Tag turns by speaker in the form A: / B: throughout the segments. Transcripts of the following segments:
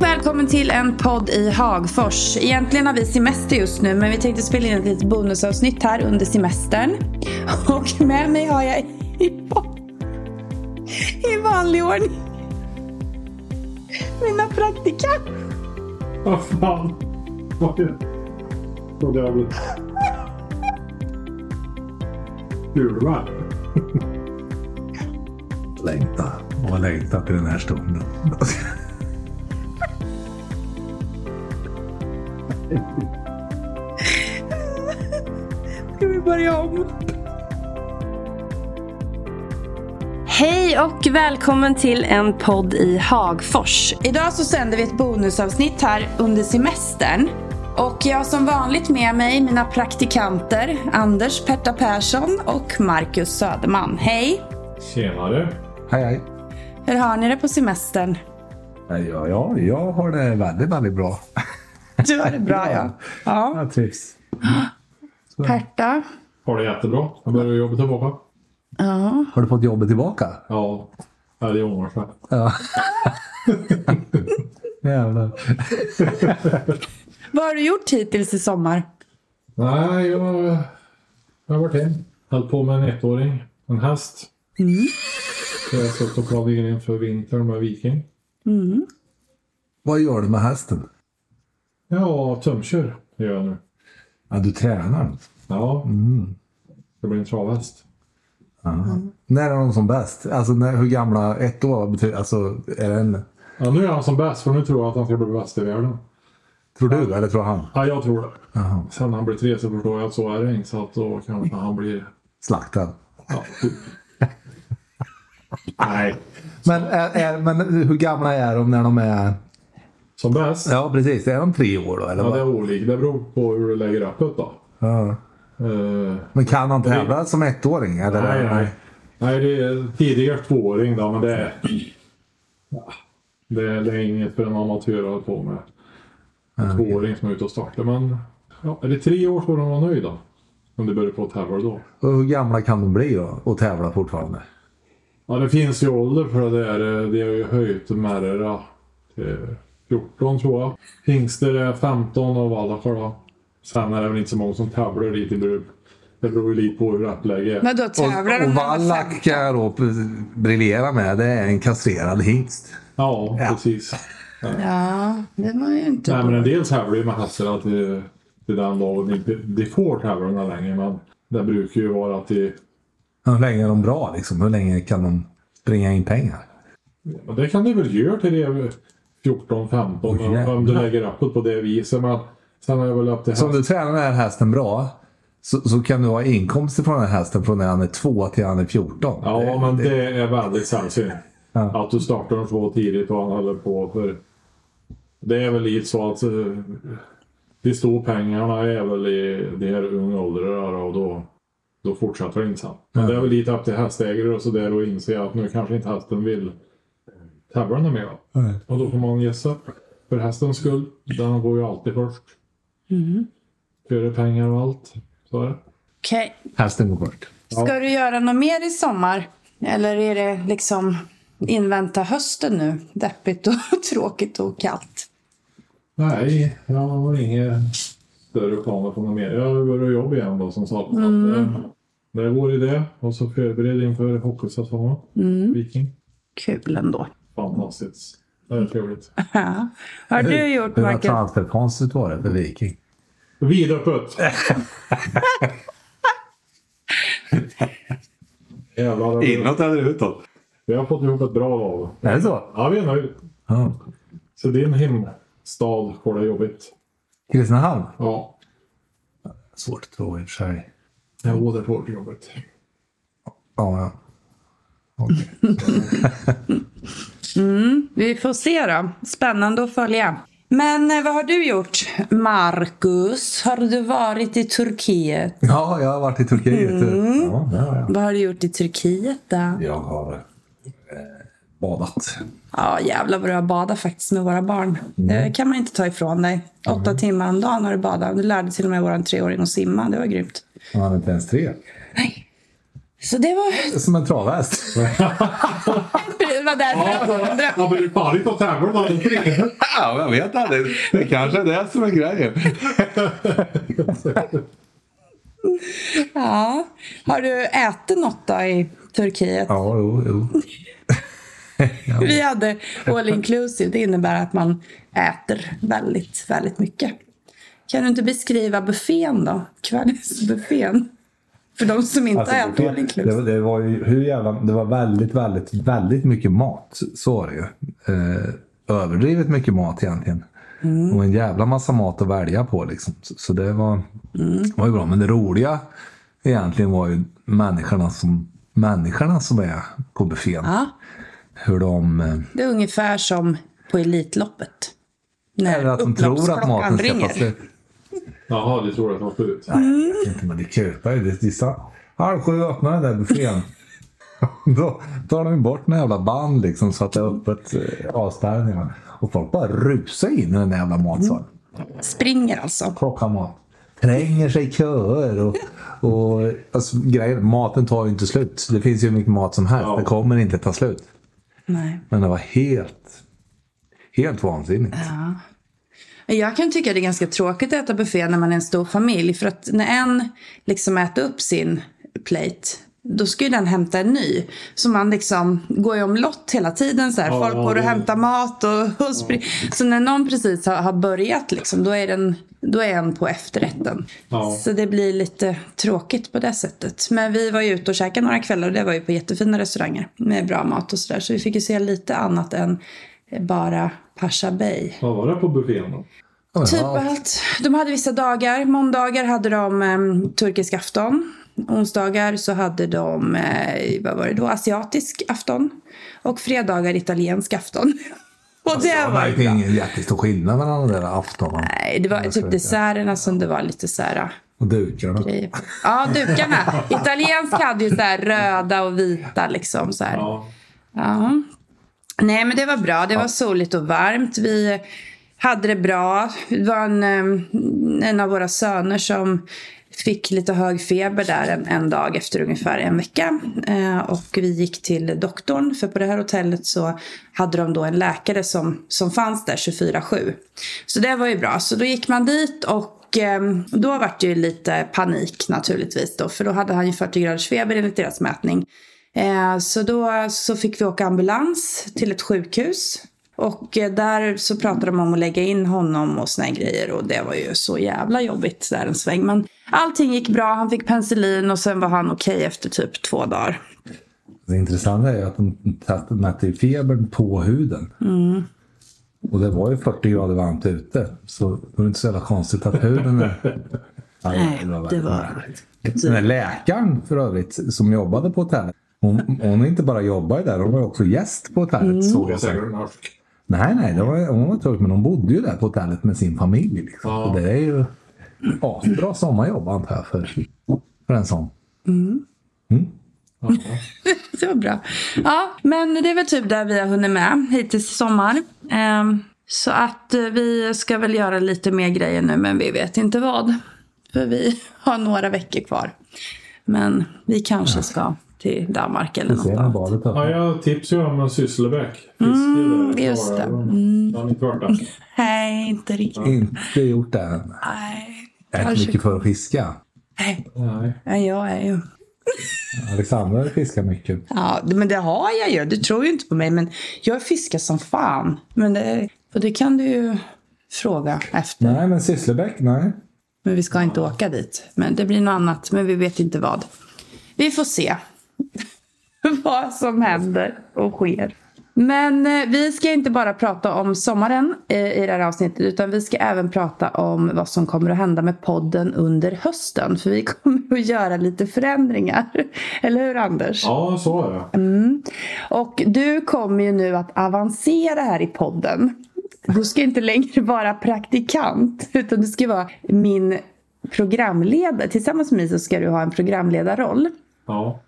A: välkommen till en podd i Hagfors. Egentligen har vi semester just nu men vi tänkte spela in ett litet bonusavsnitt här under semestern. Och med mig har jag i, i vanlig ordning mina praktikanter.
B: Vad fan var det? Vad dödligt. Ulvar.
C: längta och har längtat till den här stunden.
A: Ska vi börja om?
D: Hej och välkommen till en podd i Hagfors.
A: Idag så sänder vi ett bonusavsnitt här under semestern. Och jag har som vanligt med mig mina praktikanter Anders Perta Persson och Marcus Söderman. Hej!
B: Tjenare.
C: Hej hej.
A: Hur har ni det på semestern?
C: Ja, ja, jag har det väldigt, väldigt bra.
A: Du har det bra ja. ja.
C: Jag trivs.
A: Perta.
B: Har det jättebra. Jag börjar jobba tillbaka.
A: Ja.
C: Har du fått jobbet tillbaka?
B: Ja. Ja, det ångrar sig.
C: Ja. Jävlar.
A: Vad har du gjort hittills i sommar?
B: Nej, jag, jag har varit hem. Höll på med en ettåring. En häst. Så Jag har suttit och planerat inför vintern med Viking.
C: Vad gör du med hästen?
B: Ja, tömkör gör jag nu.
C: Ja, du tränar den.
B: Ja. Det blir en travhäst.
C: När är de som bäst? Alltså när, hur gamla? Ett år? vad betyder- Alltså är den...
B: Ja, nu är han som bäst för nu tror jag att han ska bli bäst i världen.
C: Tror du eller tror han?
B: Ja, jag tror det.
C: Jaha.
B: Sen när han blir tre så förstår jag att så är det inte. Så att då kanske han blir...
C: Slaktad.
B: Ja, typ. Nej.
C: Men, är, är, men hur gamla är de när de är...
B: Som bäst?
C: Ja precis, är de tre år då? Eller
B: Ja,
C: vad?
B: det är olika. Det beror på hur du lägger upp det. då.
C: ja.
B: Eh,
C: Men kan han tävla som ettåring? Eller?
B: nej, nej. eh, Nej, det är tidigare tvååring då, men det är... Ja, Det är, det är inget för en amatör att hålla på med. En tvååring som är ute och startar. Men ja, är det tre år får de vara nöjd då. Om du börjar på att tävla då.
C: Och hur gamla kan de bli då och tävla fortfarande?
B: Ja, det finns ju ålder för det där. Eh, Det har ju höjt Märra till 14 eh, tror jag. Hingster är 15 och Wallachar då. Sen är det väl inte så många som tävlar dit. Det beror, det beror ju lite på hur rättläge är.
A: Men då tävlar
C: Och, och
A: de när de var
C: Wallach kan jag då briljera med. Det är en kastrerad hingst.
B: Ja,
C: Ja.
B: precis.
A: Ja, det var ju inte
B: Nej,
A: bra.
B: men en del tävlar ju med hästar till, till den dagen de, de får tävlarna längre. Men det brukar ju vara att de...
C: Hur länge är de bra liksom? Hur länge kan de springa in pengar?
B: Men det kan du väl göra till det 14, 15
C: Åh, jävlar.
B: om du lägger upp det på det viset. Men sen är det väl upp till
C: Så om
B: hästen.
C: du tränar den här hästen bra så, så kan du ha inkomster från den här hästen från när han är två till han är 14.
B: Ja, men det är väldigt sällsynt. Att du startar de två tidigt och han håller på. För det är väl lite så att eh, de stora pengarna är väl i de här unga åldrarna och då, då fortsätter det inte sen. Men det är väl lite upp till hästägare och sådär att inse att nu kanske inte hästen vill tävla något mer. då.
C: Nej.
B: Och då får man ge sig. För hästens skull. Den går ju alltid först. Före pengar och allt. Så är det.
A: Okej.
C: Hästen går först.
A: Ska du göra något mer i sommar? Eller är det liksom invänta hösten nu? Deppigt och tråkigt och kallt.
B: Nej, jag har inga större planer på något mer. Jag börjar jobba igen då som sagt. Mm. Det, det vore det. Och så förbered inför hockeysäsongen. Viking.
A: Kul ändå.
B: Fantastiskt. Det är trevligt.
A: Ja. Har du gjort
C: Hur har
A: Marcus?
C: transferfönstret varit för Viking?
B: Vidöppet! Jävlar. vi-
C: eller utåt?
B: Vi har fått ihop ett bra lag.
C: Är det så?
B: Ja, vi är nöjda.
C: Ja.
B: Så din hemstad får det jobbigt.
C: Kristinehamn?
B: Ja.
C: Svårt att tro i och för sig.
B: Jo, det får det jobbigt.
C: Ja, ja. Okej.
A: Vi får se då. Spännande att följa. Men eh, vad har du gjort? Marcus, har du varit i Turkiet?
C: ja, jag har varit i Turkiet.
A: Mm.
C: Ja, ja, ja.
A: Vad har du gjort i Turkiet då?
C: Jag har eh, badat.
A: Ja, jävlar vad du har badat faktiskt med våra barn.
C: Mm.
A: Det kan man inte ta ifrån dig. Åtta timmar om dagen har du badat. Du lärde till och med vår treåring att simma. Det var grymt.
C: Han hade inte ens tre.
A: Nej. Så det var...
C: Som en travhäst.
A: Det var därför jag var andra.
B: Han blir fan inte att tävla då.
C: Ja, jag vet aldrig. Det kanske är det som är grejen.
A: Ja. Har du ätit något då i Turkiet?
C: Ja, jo, jo.
A: Vi hade all inclusive. Det innebär att man äter väldigt, väldigt mycket. Kan du inte beskriva buffén då? Kvällsbuffén. För de som inte har ätit all
C: Alltså, det, var-
A: inclusive.
C: det var ju hur jävla... Det var väldigt, väldigt, väldigt mycket mat. Så var det ju. Eh, överdrivet mycket mat egentligen. Och en jävla massa mat att välja på liksom. Så, så det var, var ju bra. Men det roliga egentligen var ju människorna som, människorna som är på buffén.
A: Ja,
C: Hur de... Eh,
A: det är ungefär som på Elitloppet. När
C: eller att de tror att maten
A: upploppsklockan
C: ska ta
A: ringer.
C: slut.
B: Jaha, det tror jag tar slut.
C: Nej, jag vet inte, Mm. men det kupar ju. Det- Gissa. Halv sju öppnar den där buffén. Då tar de ju bort några jävla band liksom så att det är öppet eh, avspärrningar. Och folk bara rusar in i den där jävla matsalen.
A: Springer alltså.
C: Plockar mat. Tränger sig i köer. Och, och, alltså, grejen, maten tar ju inte slut. Det finns ju hur mycket mat som helst.
B: Ja.
C: Det kommer inte ta slut.
A: Nej.
C: Men det var helt, helt vansinnigt.
A: Jag kan tycka det är ganska tråkigt att äta buffé när man är en stor familj. För att när en liksom äter upp sin plate, då ska ju den hämta en ny. Så man liksom går ju omlott hela tiden. Så här.
B: Ja,
A: Folk
B: ja,
A: går och
B: det-
A: hämtar mat och, och spring. Så när någon precis har, har börjat, liksom, då, är den, då är en på efterrätten.
B: Ja.
A: Så det blir lite tråkigt på det sättet. Men vi var ju ute och käkade några kvällar och det var ju på jättefina restauranger med bra mat och sådär. Så vi fick ju se lite annat än bara Pasha Bay.
B: Vad var det på buffén då?
C: Ja, men
A: Typ
C: allt.
A: allt. De hade vissa dagar. Måndagar hade de eh, turkisk afton. Onsdagar så hade de, eh, vad var det då, asiatisk afton. Och fredagar italiensk afton. Och det
C: Det
A: var
C: var ju ingen jättestor skillnad mellan de där aftonarna
A: Nej, det var typ desserterna som det var lite så här...
C: och dukarna.
A: eh, Ja, dukarna. Italiensk hade ju så här röda och vita liksom. Så här.
B: Ja.
A: Ja. Nej, men det var bra. Det var soligt och varmt. Vi hade det bra. Det var en, eh, en av våra söner som fick lite hög feber där en, en dag efter ungefär en vecka. Eh, och vi gick till doktorn, för på det här hotellet så hade de då en läkare som, som fanns där 24-7. Så det var ju bra. Så då gick man dit och och eh, då var det ju lite panik naturligtvis då, för då hade han ju 40 graders feber enligt deras mätning. Eh, Så då så fick vi åka ambulans till ett sjukhus. Och eh, där så pratade de om att lägga in honom och såna här grejer och det var ju så jävla jobbigt där en sväng. Men allting gick bra, han fick penicillin och sen var han okej efter typ två dagar.
C: Det intressanta är ju att de test- mätte ju febern på huden.
A: Mm.
C: Och det var ju 40 grader varmt ute. Så det är inte så jävla konstigt att huden är... Nej,
A: det var-
C: märkligt. Den där läkaren för övrigt som jobbade på hotellet. Hon, hon inte bara jobbade där, hon var också gäst på hotellet.
A: Mm.
C: Såg
B: Det var
C: jag sen.
B: säkert en norsk.
C: Nej, nej, det var, hon var turk men hon bodde ju där på hotellet med sin familj. Liksom.
B: Ja.
C: Så det är ju asbra sommarjobb antar jag för, för en sån.
B: Ja.
A: Det var bra. Ja, men det är väl typ där vi har hunnit med hittills i sommar. Ehm, så att eh, vi ska väl göra lite mer grejer nu, men vi vet inte vad. För vi har några veckor kvar. Men vi kanske ska till Danmark eller
C: Vi ser när
A: något. då.
C: badet
B: Ja,
C: öppnar.
B: jag tipsade ju om en Sysslebäck. Mm,
A: just det.
B: Mm. Han har inte varit där.
A: Nej, inte riktigt.
C: Inte gjort det än.
A: Nej,
C: Jag är inte
A: kanske.
C: mycket för att fiska.
A: Nej,
B: Nej.
A: Nej, jag är ju...
C: Alexandra fiskar mycket.
A: Ja, men det har jag ju. Du tror ju inte på mig, men jag fiskar som fan. Men det, och det kan du ju fråga efter.
C: Nej, men Sysslebäck, nej.
A: Men vi ska inte åka dit. Men det blir något annat, men vi vet inte vad. Vi får se vad som händer och sker. Men eh, vi ska inte bara prata om sommaren eh, i det här avsnittet utan vi ska även prata om vad som kommer att hända med podden under hösten. För vi kommer att göra lite förändringar. Eller hur Anders?
B: Ja, så är det.
A: Och du kommer ju nu att avancera här i podden. Du ska inte längre vara praktikant, utan du ska vara min programledare. Tillsammans med mig så ska du ha en programledarroll.
B: Ja.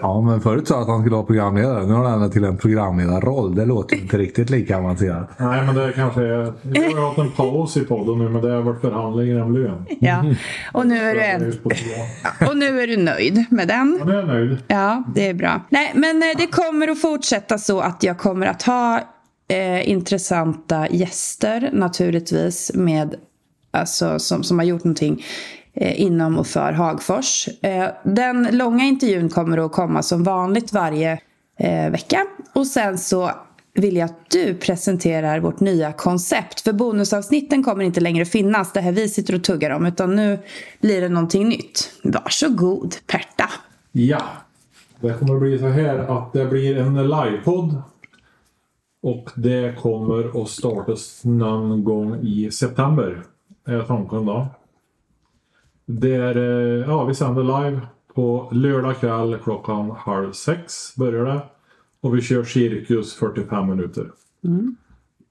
C: Ja, men förut sa jag att han skulle vara programledare. Nu har han ändrat till en programledarroll. Det låter inte riktigt lika avancerat.
B: Nej, men det kanske är... Vi har ju haft en paus i podden nu, men det har varit förhandlingar om lön.
A: Ja. Och, nu är du
B: Jag är
A: en,
B: just på två.
A: och nu är du nöjd med den.
B: Men jag är nöjd.
A: Ja, det är bra. Nej, men eh, det kommer att fortsätta så att jag kommer att ha eh, intressanta gäster naturligtvis med, alltså, som, som har gjort någonting eh, inom och för Hagfors. Eh, den långa intervjun kommer att komma som vanligt varje eh, vecka. Och sen så vill jag att du presenterar vårt nya koncept. För bonusavsnitten kommer inte längre finnas, det här vi sitter och tuggar om. Utan nu blir det någonting nytt. Varsågod, Perta.
B: Ja. Det kommer bli så här att det blir en livepodd. Och det kommer att startas någon gång i september. Är tanken då. Där, eh, ja, vi sänder live på lördag kväll klockan halv sex börjar det. Och vi kör cirkus 45 minuter.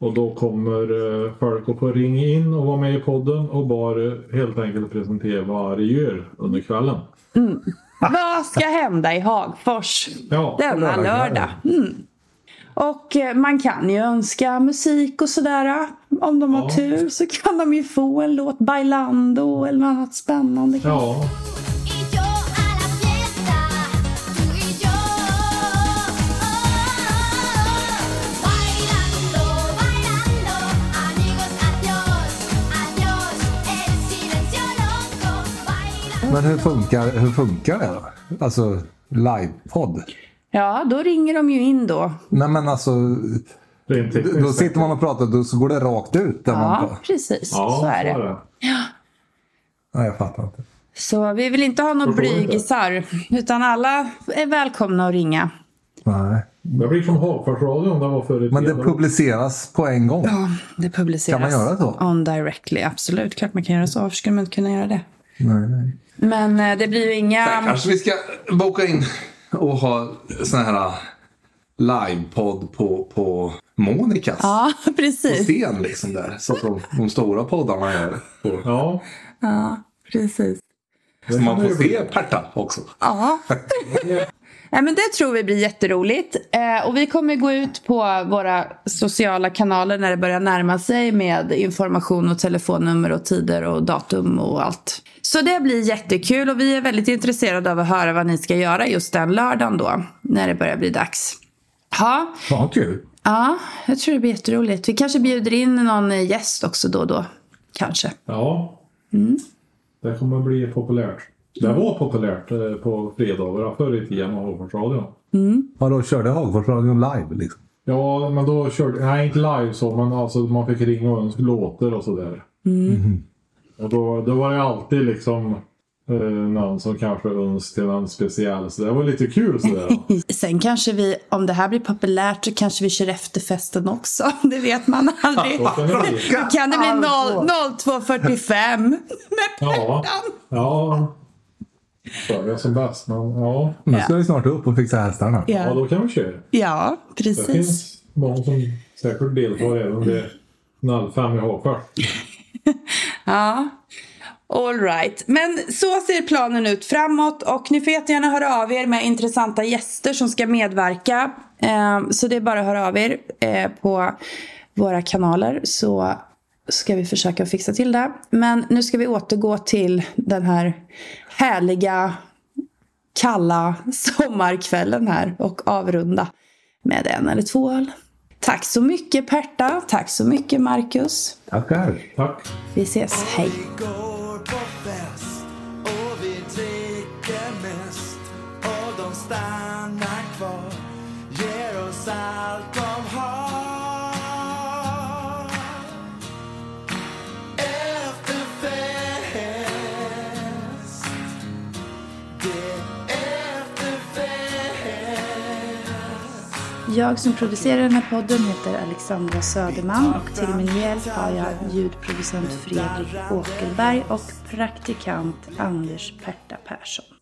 B: Och då kommer eh, folk att få ringa in och vara med i podden och bara helt enkelt presentera vad de gör under kvällen.
A: Vad ska hända i Hagfors
B: Ja.
A: denna
C: lördag.
A: lördag? Mm. Och eh, man kan ju önska musik och sådär. eh, Om de har
B: Ja.
A: tur så kan de ju få en låt Bailando eller något annat spännande. kanske.
B: Ja,
E: Y yo a la fiesta, tú y yo oh, Bailando, bailando, amigos, adiós, adiós El silencio loco, bailando
C: Men hur funkar, hur funkar det då? Alltså livepodd?
A: Ja, då ringer de ju in då.
C: Nej men alltså,
B: rent tekniskt.
C: då sitter man och pratar och så går det rakt ut. Där man
A: Ja,
C: pratar.
A: precis.
B: Ja,
A: så är
B: så
A: det.
C: Nej, jag fattar inte.
A: Så vi vill inte ha några
B: Förstår inte.
A: blygisar. Utan alla är välkomna att ringa.
C: Nej.
B: Det blir som Hagforsradion det var förr i
C: Men det
B: tiden.
C: publiceras på en gång.
A: Ja, det publiceras.
C: Kan man göra så?
A: On directly, absolut. Klart man kan göra så. Varför skulle man inte kunna göra det?
C: Nej, nej.
A: Men eh, det blir ju inga...
C: Kanske vi ska boka in och ha sån här äh, livepodd på, på Monikas.
A: Ja,
C: På
A: precis.
C: scen liksom där. Så att de, de stora poddarna gör. Och-
B: Ja,
A: Ja, precis.
C: Så man får se Perta också.
A: Ja. Nej, men det tror vi blir jätteroligt. Eh, och vi kommer gå ut på våra sociala kanaler när det börjar närma sig med information och telefonnummer och tider och datum och allt. Så det blir jättekul och vi är väldigt intresserade av att höra vad ni ska göra just den lördagen då. När det börjar bli dags. Ja,
C: Fan kul.
A: ja jag tror det blir jätteroligt. Vi kanske bjuder in någon eh, gäst också då och då. Kanske.
B: ja.
C: Mm.
B: Det kommer bli populärt. Det var populärt eh, på fredagar förr i tiden med Hagforsradion.
C: Vadå, körde Hagforsradion live liksom?
B: Ja, men då körde... Nej, inte live så, men alltså man fick ringa och önska låtar och sådär.
C: Mm.
B: Och då, då var det alltid liksom eh, någon som kanske önskade någon speciell. Så det var lite kul sådär.
A: Sen kanske vi, om det här blir populärt, så kanske vi kör efterfesten också. Det vet man aldrig.
B: Så kan det bli.
A: Kan det bli 0, 02.45 med
B: Ja. Ja. Förr är som bäst, men ja.
C: Nu ska vi snart upp och fixa hästarna.
B: Ja, då kan vi köra.
A: Ja,
B: Det
A: precis.
B: finns många som säkert deltar även vid 05 i Hagfors.
A: Ja. All right. Men så ser planen ut framåt och ni får jättegärna höra av er med intressanta gäster som ska medverka. Eh, Så det är bara att höra av er eh, på våra kanaler så ska vi försöka fixa till det. Men nu ska vi återgå till den här härliga kalla sommarkvällen här och avrunda med en eller två öl. Tack så mycket Perta. Tack så mycket Marcus.
C: Tackar.
B: Tack!
A: Vi ses. Hej.
F: Vi går på fest och vi dricker mest och de stannar kvar, ger oss allt de har. Efter fest, det är efter fest.
G: Jag som producerar den här podden heter Alexandra Söderman och till min hjälp har jag ljudproducent Fredrik Åkerberg och praktikant Anders Perta Persson.